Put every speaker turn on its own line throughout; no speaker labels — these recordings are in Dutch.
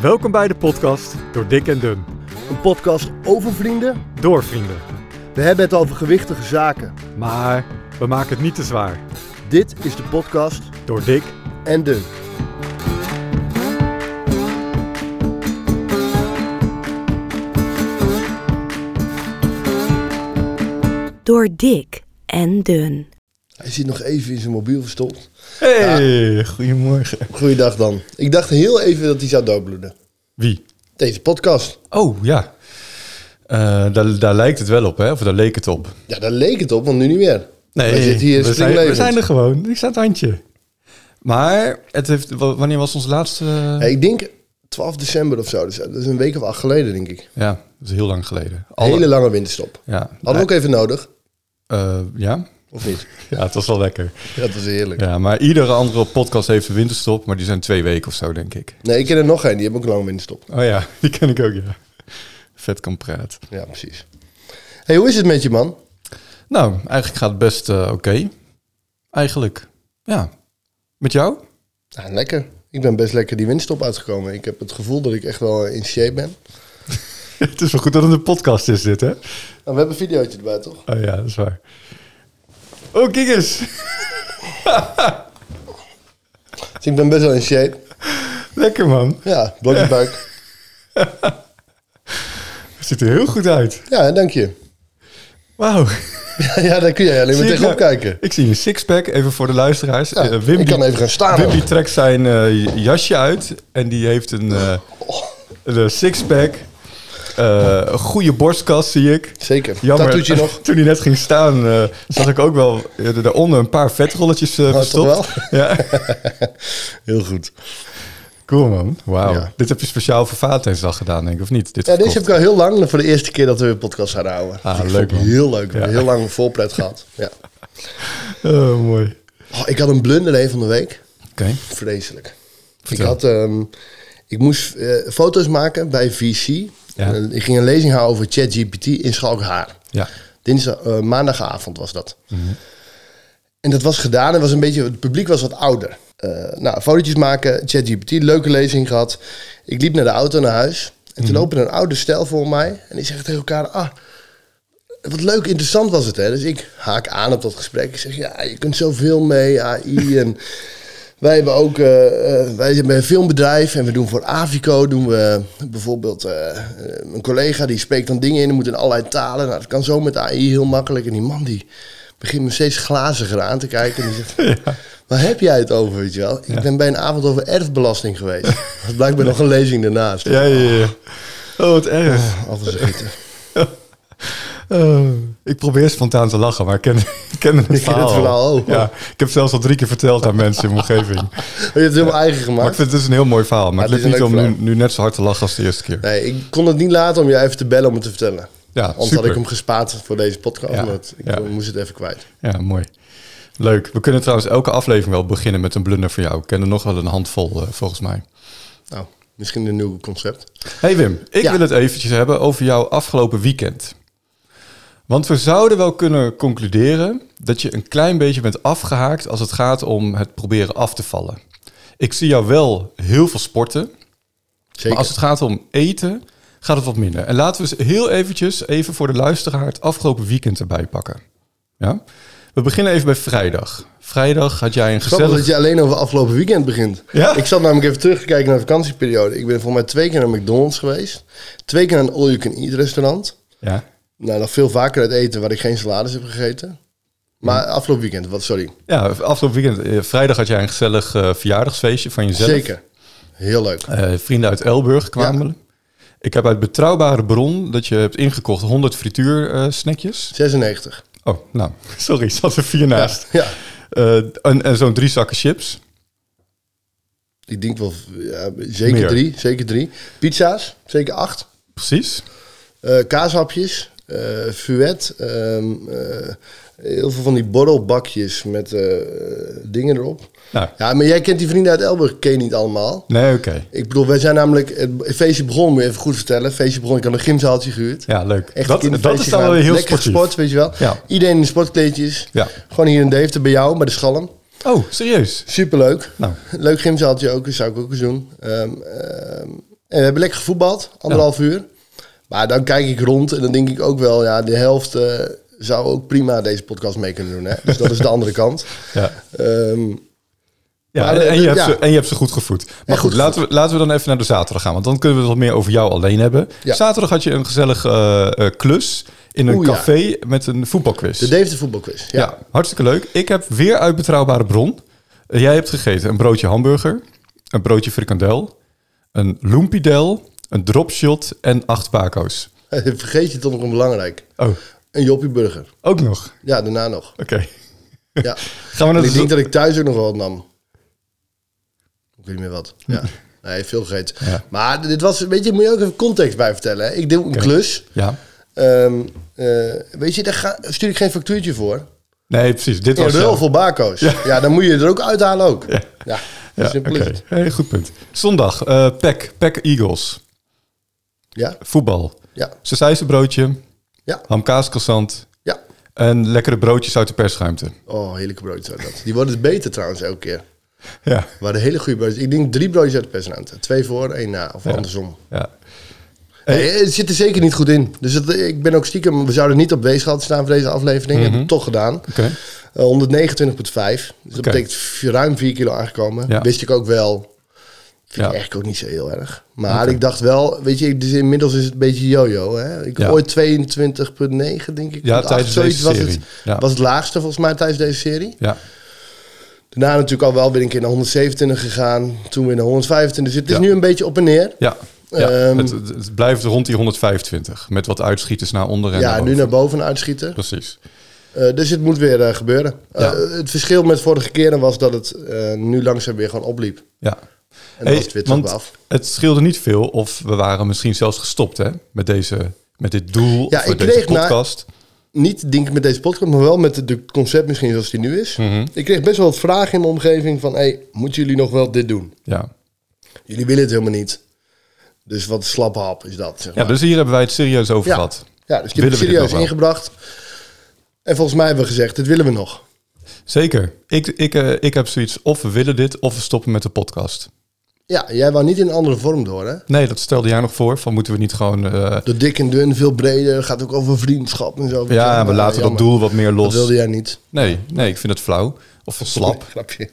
Welkom bij de podcast Door Dik en Dun.
Een podcast over vrienden.
Door vrienden.
We hebben het over gewichtige zaken.
Maar we maken het niet te zwaar.
Dit is de podcast
Door Dik.
En Dun.
door dik en dun.
Hij zit nog even in zijn mobiel verstopt.
Hey, goedemorgen.
Goeiedag dan. Ik dacht heel even dat hij zou doodbloeden.
Wie?
Deze podcast.
Oh ja. Eh, daar, daar lijkt het wel op, hè? Of daar leek het op.
Ja, daar leek het op, want nu niet meer.
Nee,
Wij zitten hier
we, zijn,
springlevend.
we zijn er gewoon. Ik sta het handje. Maar het heeft, wa- wanneer was ons laatste?
Ja, ik denk 12 december of zo. Dus dat is een week of acht geleden, denk ik.
Ja, dat is heel lang geleden.
Een
Alle-
hele lange winterstop.
Ja,
Hadden we ook even nodig.
Eh, ja?
Of niet?
ja, het was wel lekker.
Dat was heerlijk.
Ja, maar iedere andere podcast heeft een winterstop, maar die zijn twee weken of zo, denk ik.
Nee, ik ken er nog geen. Die hebben ook een lange winterstop.
Oh ja, die ken ik ook, ja. Vet kan praten.
Ja, precies. hey, hoe is het met je, man?
Nou, eigenlijk gaat het best eh, oké. Eigenlijk. Ja. Met jou?
Nou, lekker. Ik ben best lekker die winterstop uitgekomen. Ik heb het gevoel dat ik echt wel eh, in shape ben.
het is wel goed dat het een podcast is, dit, hè?
Nou, we hebben een videootje erbij, toch?
Oh ja, dat is waar. Oh, kijk eens.
Dus ik ben best wel in shape.
Lekker man.
Ja, blokje buik.
Ziet er heel goed uit.
Ja, dank je.
Wauw.
ja, daar kun jij alleen maar
Zie ik
tegenop
nou-
kijken.
Ik zie een sixpack, even voor de luisteraars.
Ja,
Eh,
ik kan even gaan staan
Wim
ook.
die trekt zijn eh, jasje uit en die heeft een, eh,
Oh, Nou,
een sixpack. Eh, een goede borstkas zie ik.
Zeker.
Jammer,
Tattoetje nog.
toen hij net ging staan, eh, zag ik ook wel eh, daaronder een paar vetrolletjes eh
Oh, toch
verstopt. Ja.
Heel goed.
Cool man, wauw.
Ja.
Dit heb je speciaal voor Valentijnsdag gedaan denk ik, of niet? Dit
Ja, deze
verkocht.
heb ik al heel lang voor de eerste keer dat we een podcast zouden houden.
Ah,
Dus ik
leuk,
vond het
man.
Heel leuk. We hebben
Ja.
Heel lang een voorpret gehad. Ja.
Oh, mooi.
Oh, ik had een blunder een van de week.
Oké.
Vreselijk.
Vertel.
Ik had... ehm, ik moest eh, foto's maken bij VC. En eh, ik ging een lezing houden over ChatGPT in Schalkhaar.
Ja. Mhm.
Dinsdag, eh, maandagavond was dat. En dat was gedaan. en was een beetje, het publiek was wat ouder. Eh, nou, fotootjes maken, ChatGPT, leuke lezing gehad. Ik liep naar de auto naar huis. En
Mhm.
toen opende een oude stijl voor mij. En die zegt tegen elkaar, ah, wat leuk, interessant was het. Hè? Dus ik haak aan op dat gesprek. Ik zeg, ja, je kunt zoveel mee, AI. en wij hebben ook, eh, eh, wij hebben een filmbedrijf. En we doen voor Avico, doen we bijvoorbeeld eh, eh, een collega die spreekt dan dingen in. Die moet in allerlei talen. Nou, dat kan zo met AI heel makkelijk. En die man die begint me steeds glaziger aan te kijken. En die zegt, waar heb jij het over, weet je wel? Ik ben bij een avond over erfbelasting geweest. Dat is blijkbaar nog een lezing daarnaast.
Ja, ja, ja. Oh, wat erg.
Al vergeten.
Oh. Ik probeer spontaan te lachen, maar ik ken, ik ken het verhaal.
verhaal ook.
Ja, ik heb zelfs al drie keer verteld aan mensen in mijn omgeving.
Je hebt het helemaal eigen gemaakt.
Maar ik vind het is een heel mooi verhaal. Maar
Ja,
het
het is
lukt niet
een
om
leuk
nu, nu net zo hard te lachen als de eerste keer.
Nee, ik kon het niet laten om jou even te bellen om het te vertellen.
Ja,
Anders
super.
had ik hem gespaard voor deze podcast.
Ja,
maar het- ik
ja.
moest het even kwijt.
Ja, mooi. Leuk. We kunnen trouwens elke aflevering wel beginnen met een blunder voor jou. Ik ken er nog wel een handvol, eh, volgens mij.
Nou, misschien een nieuw concept.
Hey Wim, ik
Ja.
wil het eventjes hebben over jouw afgelopen weekend. Want we zouden wel kunnen concluderen dat je een klein beetje bent afgehaakt als het gaat om het proberen af te vallen. Ik zie jou wel heel veel sporten,
Zeker.
maar als het gaat om eten gaat het wat minder. En laten we eens heel eventjes even voor de luisteraar het afgelopen weekend erbij pakken. Ja? We beginnen even bij vrijdag. Vrijdag had jij een
Grappig
gezellig...
dat je alleen over afgelopen weekend begint.
Ja?
Ik zat namelijk even terug te kijken naar de vakantieperiode. Ik ben voor mij twee keer naar McDonald's geweest. Twee keer naar een all-you-can-eat restaurant.
Ja.
Nou, nog veel vaker uit eten waar ik geen salades heb gegeten. Maar
Hm.
afgelopen weekend, wat, sorry.
ja, afgelopen weekend, eh, vrijdag had jij een gezellig eh, verjaardagsfeestje van jezelf.
Zeker. Heel leuk.
Eh, vrienden uit Elburg kwamen. Ik heb uit betrouwbare bron dat je hebt ingekocht 100 frituur eh, snackjes.
96.
Oh, nou, sorry, zat er vier
Ja,
naast.
ja.
Eh, en en zo'n drie zakken chips.
Ik denk wel, ja, zeker
Meer.
drie. Zeker drie. Pizza's, zeker acht.
Precies.
Eh, kaashapjes, eh fuet, ehm, eh, heel veel van die borrelbakjes met eh, dingen erop.
Nou,
Ja, maar jij kent die vrienden uit Elburg, ken je niet allemaal.
nee, oké.
Ik bedoel, wij zijn namelijk, het het feestje begon, moet je even goed vertellen. Het feestje begon, ik had een gymzaaltje gehuurd.
Ja, leuk.
Echt
dat,
een
dat
kinderfeestje
is dan wel
gedaan.
heel
Lekker
sportief.
gesport, weet je wel.
Ja.
Iedereen in sportkleedjes.
Ja.
Gewoon hier in Deventer bij jou, bij de Schalm.
Oh, serieus?
Superleuk.
Nou.
dus Leuk gymzaaltje ook, dat zou ik ook eens doen. Ehm, ehm, En we hebben lekker gevoetbald, anderhalf uur. Maar dan kijk ik rond en dan denk ik ook wel, ja, de helft eh, zou ook prima deze podcast mee kunnen doen. Hè? Dus dat is de andere kant.
Ja.
Ehm,
Ja,
Maar,
en,
eh,
en je hebt
ja.
ze, en je hebt ze goed gevoed. Maar
goed
goed, laten we, laten we dan even naar de zaterdag gaan. Want dan kunnen we het wat meer over jou alleen hebben.
Ja.
Zaterdag had je een gezellige eh, eh, klus in een
Oeh, ja.
café met een voetbalquiz.
de Dave de voetbalquiz. Ja.
ja. hartstikke leuk. Ik heb weer uit betrouwbare bron. Eh, jij hebt gegeten een broodje hamburger, een broodje frikandel, een loempidel, een dropshot en acht paco's.
Vergeet je toch nog een belangrijk.
Oh,
Een Joppie Burger.
ook nog.
Ja, daarna nog.
Oké.
Ja.
Gaan we naar
En
de
ik denk
zo-
dat ik thuis ook nog wel wat nam. Ik weet niet meer wat. Ja. Nee, veel gegeten.
Ja.
Maar dit was, weet je, moet je ook even context bij vertellen. Hè? Ik deed een klus.
Ja.
Ehm, eh, weet je, daar ga- stuur ik geen factuurtje voor.
Nee, precies. Dit
In
was
ruil
zo.
voor bako's. Ja. dan moet je er ook uithalen ook. Ja,
Ja,
simpel is
oké.
het.
Hey, goed punt. Zondag, eh Pack, Pack Eagles.
Ja,
Voetbal.
ja,
Sausijzenbroodje,
ja,
hamkaascroissant
ja.
en lekkere broodjes uit de persruimte.
Oh, heerlijke broodjes waren dat. Die worden dus beter trouwens elke keer.
Ja.
waren hele goede broodjes. Ik denk drie broodjes uit de persruimte. Twee voor, één na. Of andersom.
ja.
Nee, het zit er zeker niet goed in. Dus het- ik ben ook stiekem... We zouden niet op weegschaal staan voor deze aflevering. Hebben we toch gedaan.
Mhm. Oké.
Eh, 129,5. Dus dat
Oké.
betekent v- ruim 4 kilo aangekomen.
Ja.
Wist ik ook wel.
Ja.
Vind ik eigenlijk ook niet zo heel erg. Maar ik dacht wel, weet je, dus inmiddels is het een beetje yo-yo. Hè? Ik
Ja.
ooit 22,9 denk ik.
Ja,
8,
tijdens
zoiets
deze
was
serie.
Het,
Ja.
was het laagste volgens mij tijdens deze serie.
Ja.
Daarna natuurlijk al wel weer een keer naar 127 gegaan. Toen weer naar 125. Dus het is
Ja.
nu een beetje op en neer.
Ja. ja.
Ehm.
het, het- het blijft rond die 125 met wat uitschieters naar onder en
Ja,
naar
nu
boven.
naar boven uitschieten.
Precies.
Eh, dus het moet weer eh, gebeuren.
Ja.
Eh, het verschil met vorige keren was dat het eh, nu langzaam weer gewoon opliep.
Ja.
En dan
Hey,
was het weer terug
want
bij af.
het scheelde niet veel of we waren misschien zelfs gestopt hè, met, deze, met dit doel
Ja,
voor
ik
deze
kreeg na-
podcast.
Niet denk ik met deze podcast, maar wel met het de concept misschien zoals die nu is.
Mhm.
Ik kreeg best wel wat vragen in mijn omgeving van... Hey, moeten jullie nog wel dit doen?
Ja.
Jullie willen het helemaal niet. Dus wat een slappe hap is dat, zeg
ja,
maar.
dus hier hebben wij het serieus over
Ja.
gehad.
Ja, dus die heb
Willen
ik
we dit nog
serieus
wel?
ingebracht. En volgens mij hebben we gezegd, dit willen we nog.
Zeker. Ik, ik, eh, ik heb zoiets, of we willen dit, of we stoppen met de podcast.
Ja, jij wou niet in een andere vorm door, hè?
Nee, dat stelde jij nog voor. Van moeten we niet gewoon... eh,
Door dik en dun, veel breder. Gaat ook over vriendschap en zo.
ja, we
maar,
laten dat
jammer.
doel wat meer
Dat
los.
wilde jij niet.
Nee, nee, ik vind het flauw. Of slap.
Grapje.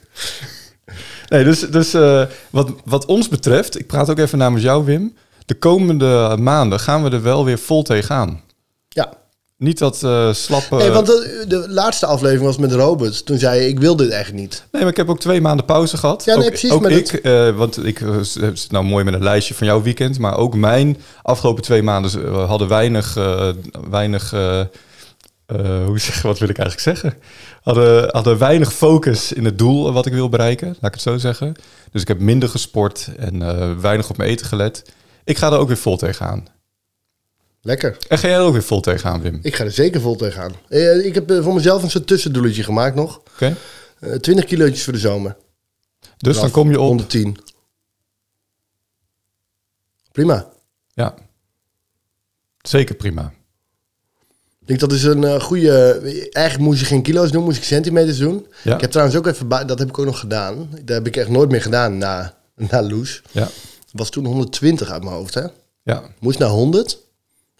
Nee, dus, dus eh, wat, wat ons betreft, ik praat ook even namens jou, Wim. De komende maanden gaan we er wel weer vol tegenaan.
Ja.
Niet dat eh slappe...
Hey, want de, de laatste aflevering was met Robert. Toen zei je, ik wil dit echt niet.
Nee, maar ik heb ook twee maanden pauze gehad.
Ja, nee,
ook,
precies,
Ook
maar
ik, eh, want ik eh, z- zit nou mooi met een lijstje van jouw weekend. Maar ook mijn afgelopen twee maanden eh, hadden weinig... eh, weinig eh, eh, hoe zeg, wat wil ik eigenlijk zeggen? Hadden, hadden weinig focus in het doel eh, wat ik wil bereiken. Laat ik het zo zeggen. Dus ik heb minder gesport en eh, weinig op mijn eten gelet. Ik ga er ook weer vol tegenaan.
Lekker.
En ga jij er ook weer vol tegenaan, Wim? Oké?
Ik ga er zeker vol tegenaan. Eh, ik heb eh, voor mezelf een soort tussendoeletje gemaakt nog. Eh 20 kilootjes voor de zomer.
Dus dan kom je op...
110. Prima.
Ja. Zeker prima.
Ik denk dat is een eh, goede... Eigenlijk moest je geen kilo's doen, moest ik centimeters doen.
Ja.
Ik heb trouwens ook even... ba- Dat heb ik ook nog gedaan. Dat heb ik echt nooit meer gedaan na, na Loes.
Ja.
Was toen 120 uit mijn hoofd, hè?
Ja.
Moest naar 100.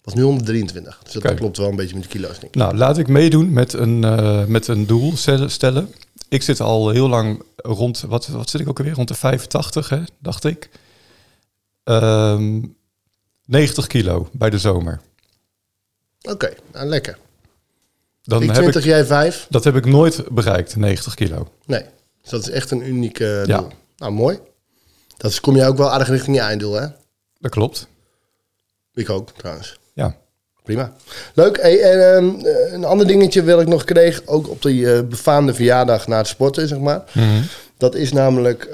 Was nu 123. Dus dat
Kijk.
klopt wel een beetje met de kilo's, denk ik.
Nou, laat ik meedoen met een, eh, met een doel stel- stellen. Ik zit al heel lang rond, wat, wat zit ik ook alweer? Rond de 85, hè, dacht ik. Ehm, 90 kilo bij de zomer.
Oké, nou lekker.
Dan
ik
heb
20,
ik,
jij 5?
dat heb ik nooit bereikt, 90 kilo.
Nee. Dus dat is echt een uniek eh,
Ja.
doel. Nou, mooi. Dat is, kom jij ook wel aardig richting je einddoel, hè?
Dat klopt.
Ik ook, trouwens.
Ja.
Prima. Leuk. Hey, en, ehm, eh, een ander dingetje wil ik nog kreeg, ook op die eh, befaamde verjaardag na het sporten, zeg maar.
Mhm.
Dat is namelijk,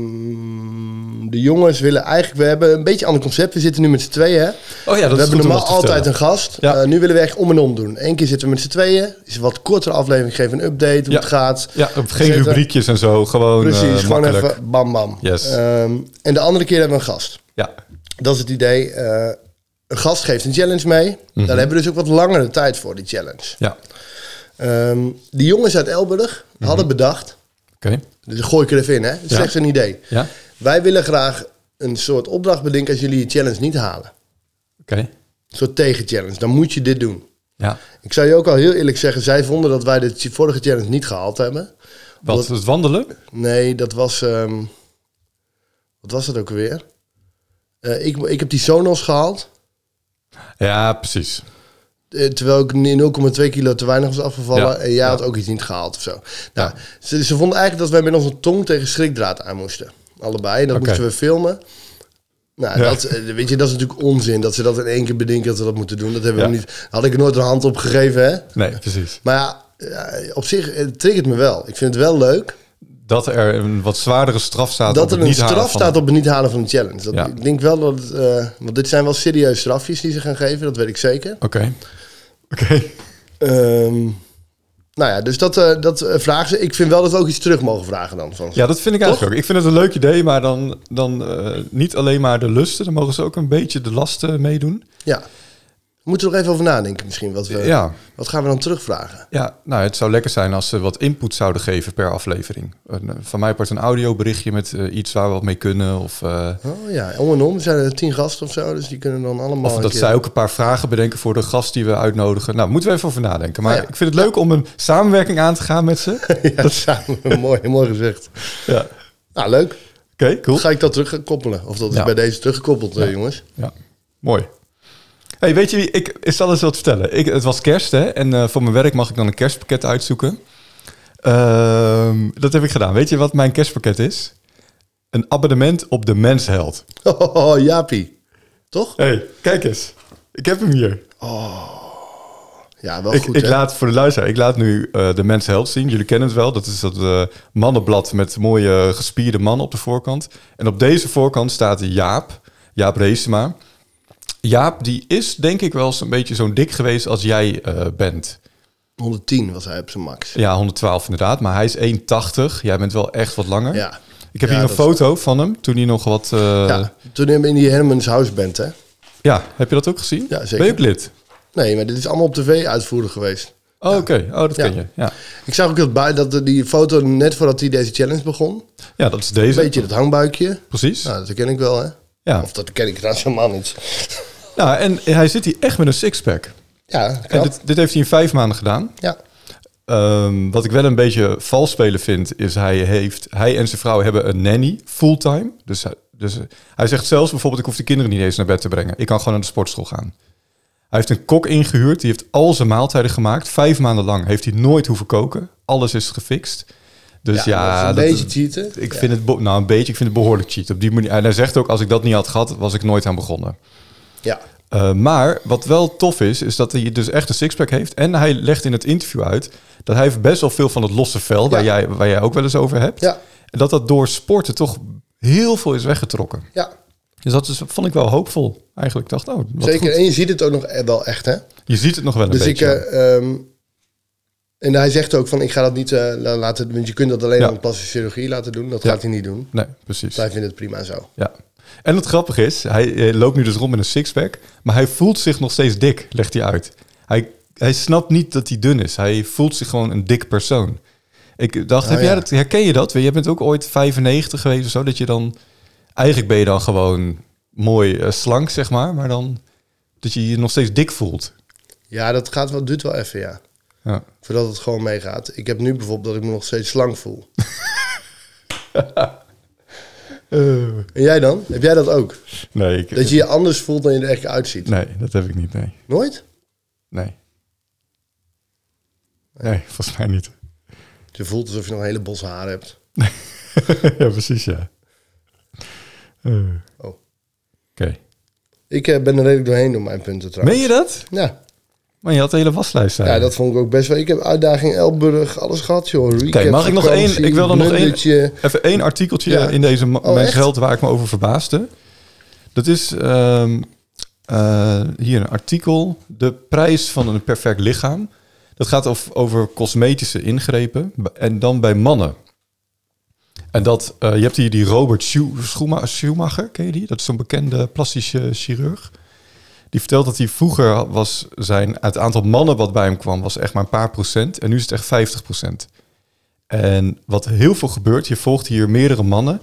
ehm, de jongens willen eigenlijk, we hebben een beetje ander concept. We zitten nu met z'n tweeën, hè?
Oh ja, dat
we
is
hebben
goed om
normaal
dat te vertellen.
altijd een gast.
Ja.
Eh, nu willen we echt om en om doen. Eén keer zitten we met z'n tweeën. Is een wat kortere aflevering. Geef een update hoe
Ja.
het gaat.
Ja, geen
Zetten.
rubriekjes en zo, gewoon
Precies,
Precies,
gewoon
eh, makkelijk.
even bam bam.
Yes.
Ehm, en de andere keer hebben we een gast.
Ja,
Dat is het idee. eh, een gast geeft een challenge mee.
Mhm.
Daar hebben we dus ook wat langere tijd voor, die challenge.
ja. oké.
Ehm, die jongens uit Elburg hadden bedacht. Dus gooi ik er even in, hè. Het is
Mhm. Ja.
slechts een idee.
Ja?
Wij willen graag een soort opdracht bedenken als jullie je challenge niet halen.
Oké.
Een soort tegenchallenge. Dan moet je dit doen.
Ja.
Ik zou je ook al heel eerlijk zeggen, zij vonden dat wij de vorige challenge niet gehaald hebben.
Wat, het wandelen?
Nee, dat was. ehm, wat was dat ook weer? ik, ik heb die Sonos gehaald.
Ja, precies.
eh, terwijl ik nu 0,2 kilo te weinig was afgevallen.
Ja,
en jij had ook iets niet gehaald of zo. Nou, ze, ze vonden eigenlijk dat wij met onze tong tegen schrikdraad aan moesten. Allebei. En dat
Oké.
moesten we filmen. Nou,
Ja.
dat, eh, weet je, dat is natuurlijk onzin. Dat ze dat in één keer bedenken dat ze dat moeten doen. Dat hebben we
Ja.
niet. Had ik er nooit een hand op gegeven, hè?
Nee, precies.
Maar ja, eh, op zich eh, triggert me wel. Ik vind het wel leuk.
Dat er een wat zwaardere straf staat. op
dat
het
er een
niet halen
straf
van-
staat op het niet halen van de challenge. Dat,
Ja.
Ik denk wel dat... het, eh, want dit zijn wel serieuze strafjes die ze gaan geven. Dat weet ik zeker.
Oké. Oké.
Ehm, nou ja, dus dat, eh, dat eh, vragen ze. Ik vind wel dat we ook iets terug mogen vragen dan. Van ze.
Ja, dat vind ik eigenlijk ook. Ik vind het een leuk idee, maar dan, dan eh, niet alleen maar de lusten. Dan mogen ze ook een beetje de lasten meedoen.
Ja. We moeten er nog even over nadenken misschien. Wat, we,
Ja.
wat gaan we dan terugvragen?
Ja, nou, het zou lekker zijn als ze wat input zouden geven per aflevering. Een, eh, van mij part een audioberichtje met eh, iets waar we wat mee kunnen. Of, eh,
Oh ja, om en om. Er zijn er tien gasten of zo. Dus die kunnen dan allemaal...
of
een
dat
keer-
zij ook een paar vragen bedenken voor de gast die we uitnodigen. Nou, moeten we even over nadenken. Maar
Ah, ja.
ik vind het leuk om een samenwerking aan te gaan met ze.
Ja, dat samen. mooi, mooi gezegd.
ja. Oké,
Nou, leuk.
cool.
Ga ik dat terug koppelen? Of dat is
Ja.
bij deze teruggekoppeld, eh, jongens?
Ja, mooi. Hey, weet je, wie- ik, ik zal eens wat vertellen. Ik, het was kerst, hè? En eh, voor mijn werk mag ik dan een kerstpakket uitzoeken. Ehm, dat heb ik gedaan. Weet je wat mijn kerstpakket is? Een abonnement op de Mensheld.
Oh, Jaapie. Toch?
hey, kijk eens. Ik heb hem hier.
Ja, wel
ik,
goed,
ik
hè?
laat voor de luisteraar, ik laat nu eh, de Mens Health zien. Jullie kennen het wel. Dat is dat eh, mannenblad met mooie eh, gespierde mannen op de voorkant. En op deze voorkant staat Jaap, Jaap Reesema. Jaap, die is denk ik wel een beetje zo'n dik geweest als jij eh, bent.
110 was hij op zijn max.
Ja, 112 inderdaad, maar hij is 1,80. Jij bent wel echt wat langer.
Ja.
Ik heb
Ja,
hier een
dat-
foto van hem, toen hij nog wat... eh, ja.
Ja, toen je in die Hermans House bent, hè?
heb je dat ook gezien?
Ja, zeker.
Ben je ook lid?
Nee, maar dit is allemaal op tv uitvoerig geweest.
Oh, oké. Oh, dat
Ja.
ken je. Ja.
Ik zag ook dat, bui- dat er die foto net voordat hij deze challenge begon.
ja, dat is
Een
deze.
beetje dat hangbuikje.
Precies.
Nou, dat ken ik wel, hè?
Ja.
Of dat ken ik trouwens helemaal niet.
Nou, en hij zit hier echt met een sixpack.
Ja,
En
knap.
dit, dit heeft hij in vijf maanden gedaan.
ja.
Ehm, wat ik wel een beetje vals spelen vind, is hij, heeft, hij en zijn vrouw hebben een nanny fulltime. Dus, hij- dus eh, hij zegt zelfs bijvoorbeeld, ik hoef de kinderen niet eens naar bed te brengen. Ik kan gewoon naar de sportschool gaan. Hij heeft een kok ingehuurd, die heeft al zijn maaltijden gemaakt. Vijf maanden lang heeft hij nooit hoeven koken. Alles is gefixt. Dus ja,
dat is een beetje cheaten.
ik vind het be- nou een beetje, ik vind het behoorlijk cheat. Op die manier. En hij zegt ook, als ik dat niet had gehad, was ik nooit aan begonnen.
Ja.
Uh, maar wat wel tof is, is dat hij dus echt een sixpack heeft. En hij legt in het interview uit dat hij heeft best wel veel van het losse vel, waar, jij, waar jij ook wel eens over hebt.
Ja.
En dat dat door sporten toch heel veel is weggetrokken.
Ja,
Dus dat is, vond ik wel hoopvol eigenlijk. Ik dacht, oh, wat
zeker.
goed.
En je ziet het ook nog e- wel echt, hè?
Je ziet het nog wel een
Dus ik...
beetje.
eh, ehm, en hij zegt ook van, ik ga dat niet eh, la- laten... Want je kunt dat alleen
Ja.
aan plastische chirurgie laten doen. Dat
Ja.
gaat hij niet doen.
nee, precies.
Zij vindt het prima zo.
Ja. En het grappige is, hij eh, loopt nu dus rond met een sixpack, maar hij voelt zich nog steeds dik, legt hij uit. Hij, hij snapt niet dat hij dun is. Hij voelt zich gewoon een dik persoon. Ik dacht,
Oh,
heb jij
ja.
dat, herken je dat? Jij bent ook ooit 95 geweest of zo, dat je dan... Eigenlijk ben je dan gewoon mooi eh, slank, zeg maar, maar dan dat je je nog steeds dik voelt.
Ja, dat gaat wel, duurt wel even, ja.
Ja.
Voordat het gewoon meegaat. Ik heb nu bijvoorbeeld dat ik me nog steeds slang voel. En jij dan? Heb jij dat ook?
nee, ik,
Eh. Dat je je anders voelt dan je er echt uitziet?
nee, dat heb ik niet, nee.
Nooit?
Nee. Nee, volgens mij niet.
Je voelt alsof je nog een hele bos haar hebt.
ja, precies, ja. Eh, Oké.
Oh. Ik eh, ben er redelijk doorheen door mijn punten trouwens.
Meen je dat?
Ja.
Maar je had de hele waslijst daar.
Nou, ja, dat vond ik ook best wel. Ik heb uitdaging Elburg, alles gehad joh. Recap,
Oké, mag ik nog één?
vakantie,
Ik wil er nog één.
blundertje.
Even één artikeltje
Ja.
in deze ma-
Oh,
Mens
echt?
Geld waar ik me over verbaasde. Dat is ehm, eh, hier een artikel. De prijs van een perfect lichaam. Dat gaat of- over cosmetische ingrepen. b- En dan bij mannen. En dat, eh, je hebt hier die Robert Schu- Schuma- Schumacher, ken je die? Dat is zo'n bekende plastische chirurg. Die vertelt dat hij vroeger was zijn, het aantal mannen wat bij hem kwam was echt maar een paar procent. En nu is het echt 50 procent.
Mhm.
En wat heel veel gebeurt, je volgt hier meerdere mannen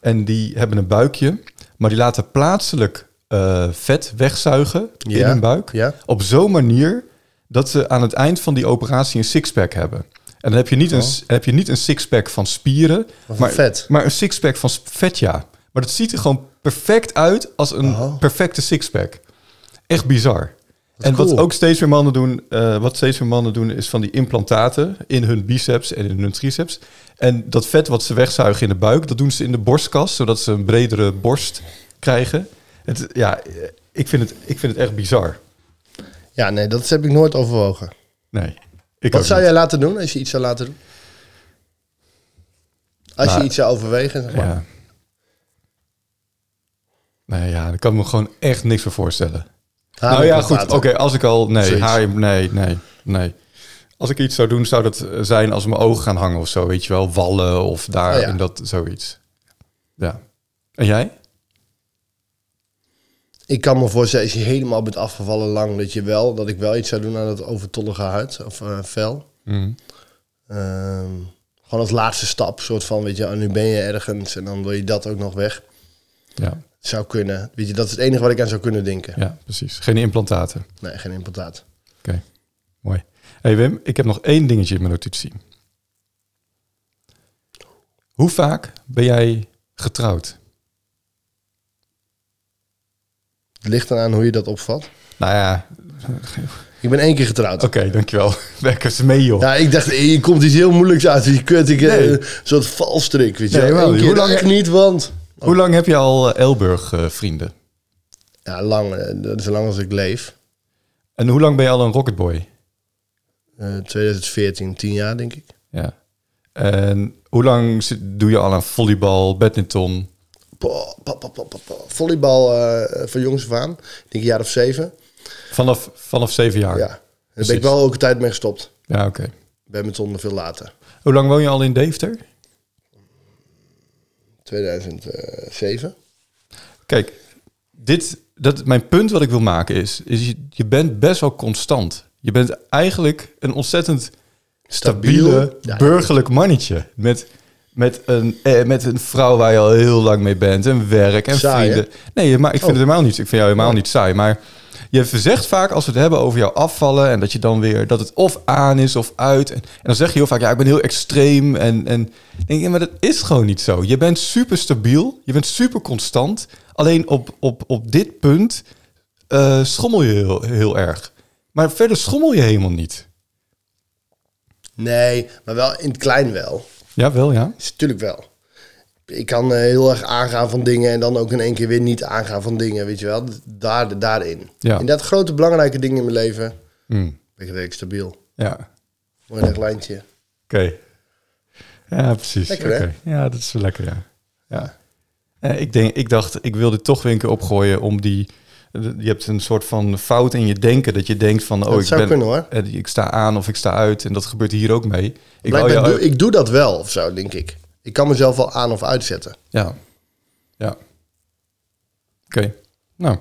en die hebben een buikje. Maar die laten plaatselijk eh, vet wegzuigen in
Ja,
hun buik.
ja.
Op zo'n manier dat ze aan het eind van die operatie een sixpack hebben. En dan heb je niet, een, s- heb je niet een sixpack van spieren.
van Oh. vet.
Maar een sixpack van s- vet, ja. Maar dat ziet er gewoon perfect uit als een
Oh.
perfecte sixpack. Echt bizar. En wat
cool.
ook steeds meer mannen doen, eh, wat steeds meer mannen doen, is van die implantaten in hun biceps en in hun triceps. En dat vet wat ze wegzuigen in de buik, dat doen ze in de borstkas, zodat ze een bredere borst krijgen. Het, ja, eh, ik vind, het, ik vind het echt bizar.
Ja, nee, dat heb ik nooit overwogen.
Nee. Ik
Wat
ook
zou
niet.
jij laten doen als je iets zou laten doen? Als
Nou,
je iets zou overwegen, zeg maar.
Ja. Nee, ja, daar kan ik me gewoon echt niks voor voorstellen. Nou ja, goed. Oké,
Harimplantaten.
als ik al... Nee,
Zoiets.
haar, nee, nee, nee. Als ik iets zou doen, zou dat eh, zijn als mijn ogen gaan hangen of zo. Weet je wel, wallen of daar
Oh ja.
en dat, zoiets. Ja. En jij?
Ik kan me voorstellen, als je helemaal bent afgevallen lang, dat, je wel, dat ik wel iets zou doen aan dat overtollige huid of eh, vel.
Mhm.
Ehm, gewoon als laatste stap, soort van, weet je, ah, nu ben je ergens en dan wil je dat ook nog weg.
Ja,
Zou kunnen. Weet je, dat is het enige wat ik aan zou kunnen denken.
ja, precies. Geen implantaten. Oké,
Nee, geen implantaat.
mooi. hey Wim, ik heb nog één dingetje in mijn notitie. Hoe vaak ben jij getrouwd?
Het ligt eraan hoe je dat opvat.
Nou ja,
Ik ben één keer getrouwd.
oké, dankjewel. Werk eens mee, joh.
Ja, ik dacht, eh, je komt iets heel moeilijks uit. Je kunt ik, eh,
Nee.
een soort valstrik, weet je
Nee,
wel.
wel.
Eén keer
Hoe lang-
echt niet, want...
Hoe lang heb je al eh, Elburg eh, vrienden?
Ja, lang, eh, dat is zo lang als ik leef.
En hoe lang ben je al een rocketboy?
Eh 2014, 10 jaar denk ik.
Ja. En hoe lang zit- doe je al aan volleybal, badminton?
Po, po, po, po, po, po. Volleybal eh van jongs af aan. Ik denk een jaar of zeven.
Vanaf, vanaf zeven jaar?
Ja. Daar ben
Ah, precies.
ik wel ook een tijd mee gestopt.
Ja, oké.
Badminton veel later.
Hoe lang woon je al in Deventer?
2007.
Kijk, dit, dat, mijn punt wat ik wil maken is, is je, je bent best wel constant. Je bent eigenlijk een ontzettend stabiele,
Ja,
burgerlijk mannetje. Met, met, een, eh, met een vrouw waar je al heel lang mee bent. En werk en
Saai, hè? Oh.
vrienden. Nee, maar ik vind het helemaal niet. Ik vind jou helemaal niet saai. Maar je verzegt vaak als we het hebben over jouw afvallen. En dat je dan weer dat het of aan is of uit. En, en dan zeg je heel vaak, ja, ik ben heel extreem. En, en ik denk, ja, maar dat is gewoon niet zo. Je bent super stabiel. Je bent super constant. Alleen op, op, op dit punt eh, schommel je heel, heel erg. Maar verder schommel je helemaal niet.
Nee, maar wel in het klein wel.
Jawel, ja.
Is natuurlijk wel. Ik kan eh, heel erg aangaan van dingen en dan ook in één keer weer niet aangaan van dingen, weet je wel. Daar, daarin.
Ja.
In dat grote belangrijke dingen in mijn leven
Hmm,
ben ik redelijk stabiel.
ja.
Mooi recht lijntje.
Oké. Ja, precies.
Lekker, hè?
Oké. Ja, dat is wel lekker, ja. ja. Eh, ik, denk, ik dacht, ik wil dit toch weer een keer opgooien om die... Je hebt een soort van fout in je denken. Dat je denkt van, oh,
Dat
ik,
zou
ben,
kunnen, hoor.
eh, ik sta aan of ik sta uit. En dat gebeurt hier ook mee. Ik wou
Blijkbaar
jou-
doe, ik doe dat wel of zo, denk ik. Ik kan mezelf wel aan of uitzetten.
Ja. Ja. Oké. Nou,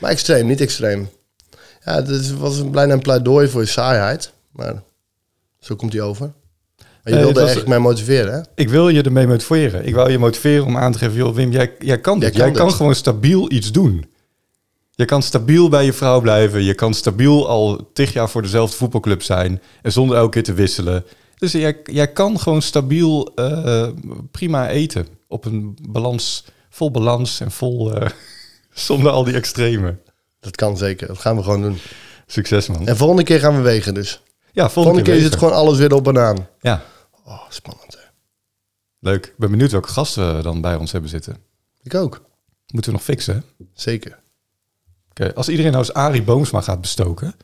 Maar extreem, niet extreem. Ja, dit was een bijna een pleidooi voor je saaiheid. Maar zo komt hij over. Maar je
Nee, dit
wilde
was-
eigenlijk mij motiveren, hè?
ik wil je ermee motiveren. Ik wou je motiveren om aan te geven, joh, Wim, jij, jij kan dit.
Jij
Jij
kan
kan,
dit.
gewoon stabiel iets doen. Je kan stabiel bij je vrouw blijven. Je kan stabiel al tig jaar voor dezelfde voetbalclub zijn. En zonder elke keer te wisselen. Dus jij, jij kan gewoon stabiel eh, prima eten. Op een balans, vol balans en vol... eh, zonder al die extreme.
Dat kan zeker. Dat gaan we gewoon doen.
Succes, man.
En volgende keer gaan we wegen dus.
Ja, volgende,
Volgende keer is
weer.
het gewoon alles weer op en aan.
Ja,
Oh, spannend hè.
leuk. Ik ben benieuwd welke gasten we dan bij ons hebben zitten.
Ik ook.
Moeten we nog fixen, hè?
Zeker.
Oké, als iedereen nou eens Arie Boomsma gaat bestoken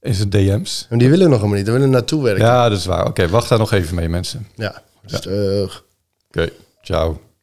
in zijn DM's.
En die willen nog helemaal niet. Daar willen we naartoe werken. Ja.
Ja, dat is waar. Oké, wacht daar nog even mee, mensen.
Stug.
Oké, ciao.